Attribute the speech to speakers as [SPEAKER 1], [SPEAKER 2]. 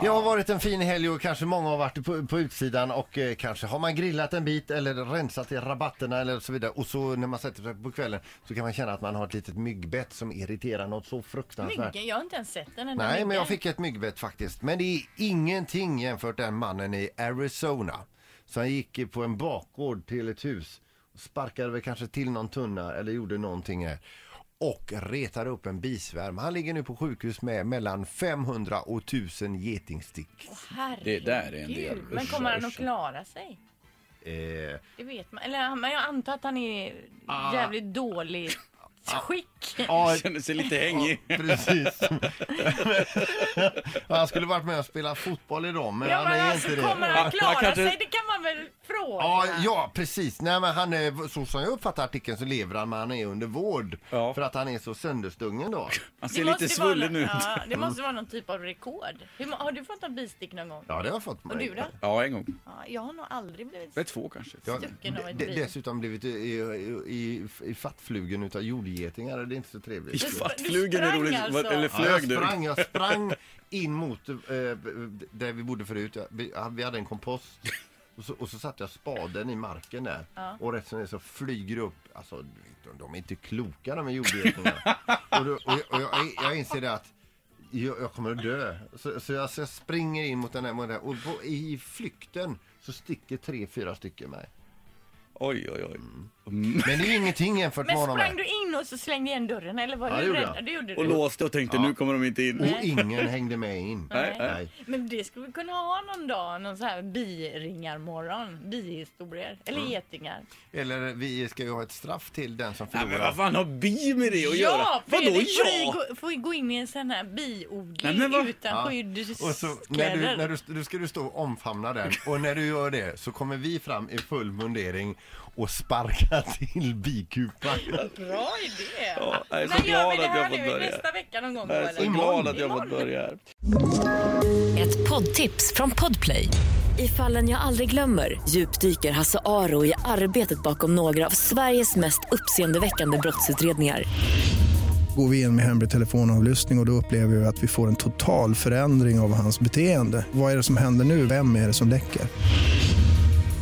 [SPEAKER 1] Det har varit en fin helg och kanske många har varit på, på utsidan och eh, kanske har man grillat en bit eller rensat i rabatterna eller så vidare. Och så när man sätter sig på kvällen så kan man känna att man har ett litet myggbett som irriterar något så fruktansvärt.
[SPEAKER 2] Mygge, jag har inte ens sett den. den där
[SPEAKER 1] Nej, men
[SPEAKER 2] myggen.
[SPEAKER 1] jag fick ett myggbett faktiskt. Men det är ingenting jämfört med den mannen i Arizona. Så han gick på en bakgård till ett hus och sparkade väl kanske till någon tunna eller gjorde någonting här. Och retade upp en bisvärm. Han ligger nu på sjukhus med mellan 500 och 1000 getingstick.
[SPEAKER 2] Herregud.
[SPEAKER 3] Det där är en del.
[SPEAKER 2] Men
[SPEAKER 3] Usch,
[SPEAKER 2] kommer han
[SPEAKER 3] usch.
[SPEAKER 2] att klara sig?
[SPEAKER 1] Eh,
[SPEAKER 2] Det vet man. Eller han- men jag antar att han är jävligt dålig skick.
[SPEAKER 1] Ah. ja,
[SPEAKER 3] Känner sig lite hängig.
[SPEAKER 1] precis. han skulle varit med och spela fotboll idag, men
[SPEAKER 2] Ja,
[SPEAKER 1] han
[SPEAKER 2] men
[SPEAKER 1] är
[SPEAKER 2] alltså,
[SPEAKER 1] inte det.
[SPEAKER 2] kommer
[SPEAKER 3] Han-
[SPEAKER 2] han
[SPEAKER 3] Ah, han
[SPEAKER 2] klara
[SPEAKER 3] kanske-
[SPEAKER 2] sig? Det kan man väl fråga?
[SPEAKER 1] Ja, ja, precis. Nej, men han är, så som jag uppfattar artikeln så lever han, men han är under vård.
[SPEAKER 3] Ja.
[SPEAKER 1] För att han är så sönderstungen då.
[SPEAKER 3] Han
[SPEAKER 2] Det
[SPEAKER 3] ser
[SPEAKER 2] måste
[SPEAKER 3] lite
[SPEAKER 2] vara
[SPEAKER 3] svullen
[SPEAKER 2] nå-
[SPEAKER 3] ut.
[SPEAKER 2] Ja,
[SPEAKER 1] Mm.
[SPEAKER 2] det måste vara någon typ av rekord. Hur, må- har du fått en bistick någon gång?
[SPEAKER 1] Ja, det har jag fått mig.
[SPEAKER 2] Och du då?
[SPEAKER 3] Ja, en gång.
[SPEAKER 2] Ja, jag har nog aldrig blivit
[SPEAKER 3] Eller två kanske.
[SPEAKER 1] Jag har
[SPEAKER 2] Stucken av ett
[SPEAKER 1] de-
[SPEAKER 2] bin.
[SPEAKER 1] dessutom blivit i, i, i, i fattflugen utav jordgetingar. Det är inte så
[SPEAKER 3] I
[SPEAKER 1] trevligt.
[SPEAKER 2] Du sp-
[SPEAKER 3] fattflugen är
[SPEAKER 2] sprang
[SPEAKER 3] roligt.
[SPEAKER 2] alltså.
[SPEAKER 3] Eller
[SPEAKER 1] Ja, jag
[SPEAKER 3] flög du?
[SPEAKER 1] sprang, jag sprang in mot eh, b- där vi bodde förut. Jag- Vi, ja, vi hade en kompost. Och så, och så satte jag spaden i marken där. Och rätt som det är så flyger det upp. Alltså, du vet, de, de är inte kloka de här jordgetingarna. och då, och, jag- och jag, jag inser det att jag, jag kommer att dö. Så, så, jag, så jag springer in mot den här. Mot den här och på, i flykten så sticker tre, fyra stycken mig.
[SPEAKER 3] Oj, oj, oj.
[SPEAKER 2] Mm.
[SPEAKER 1] Men det är ju ingenting jämfört med
[SPEAKER 2] Men
[SPEAKER 1] honom.
[SPEAKER 2] sprang
[SPEAKER 1] här.
[SPEAKER 2] du in och så slängde igen dörren eller var
[SPEAKER 1] Ja,
[SPEAKER 2] du
[SPEAKER 1] det gjorde
[SPEAKER 2] rädd?
[SPEAKER 1] jag.
[SPEAKER 2] Det gjorde du.
[SPEAKER 3] Och låste och tänkte nu kommer de inte in.
[SPEAKER 1] Och ingen hängde med in.
[SPEAKER 3] Nej, nej.
[SPEAKER 2] Men det skulle vi kunna ha någon dag, någon så här biringarmorgon, bihistorier eller getingar.
[SPEAKER 1] Eller vi ska ju ha ett straff till den som
[SPEAKER 3] Nej,
[SPEAKER 1] förlorar.
[SPEAKER 3] men vad fan har bi med det att göra?
[SPEAKER 2] Ja,
[SPEAKER 3] Vadå
[SPEAKER 2] Fredrik får ju
[SPEAKER 3] ja?
[SPEAKER 2] gå- får ju gå in i en sån här biodling
[SPEAKER 3] Nej, men vad-
[SPEAKER 2] utan skydd.
[SPEAKER 1] Och så när du, när du, du ska du stå och omfamna den och när du gör det så kommer vi fram i full mundering och sparkar till bikupan.
[SPEAKER 2] Bra idé!
[SPEAKER 3] Ja, jag är så
[SPEAKER 2] när gör
[SPEAKER 3] glad
[SPEAKER 2] vi det
[SPEAKER 3] att jag
[SPEAKER 2] här
[SPEAKER 3] har fått
[SPEAKER 2] nu?
[SPEAKER 3] börja.
[SPEAKER 2] Nästa vecka någon gång? då,
[SPEAKER 3] Jag är
[SPEAKER 2] eller?
[SPEAKER 3] så glad att jag fått börja här.
[SPEAKER 4] Ett poddtips från Podplay. I fallen jag aldrig glömmer djupdyker Hasse Aro i arbetet bakom några av Sveriges mest uppseendeväckande brottsutredningar.
[SPEAKER 5] Går vi in med hemlig telefonavlyssning och, och då upplever vi att vi får en total förändring av hans beteende. Vad är det som händer nu? Vem är det som läcker?